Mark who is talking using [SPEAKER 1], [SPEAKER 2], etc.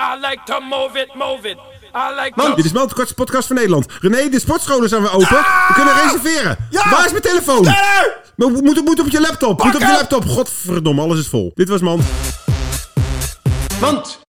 [SPEAKER 1] I like to move it, move it. I like
[SPEAKER 2] Man,
[SPEAKER 1] to...
[SPEAKER 2] dit is wel de kortste podcast van Nederland. René, de sportscholen zijn weer open. We kunnen reserveren.
[SPEAKER 3] Ja!
[SPEAKER 2] Waar is mijn telefoon?
[SPEAKER 3] Sneller!
[SPEAKER 2] Maar Moet, moet, moet op je laptop. Moet op je
[SPEAKER 3] hem!
[SPEAKER 2] laptop. Godverdomme, alles is vol. Dit was man.
[SPEAKER 3] Want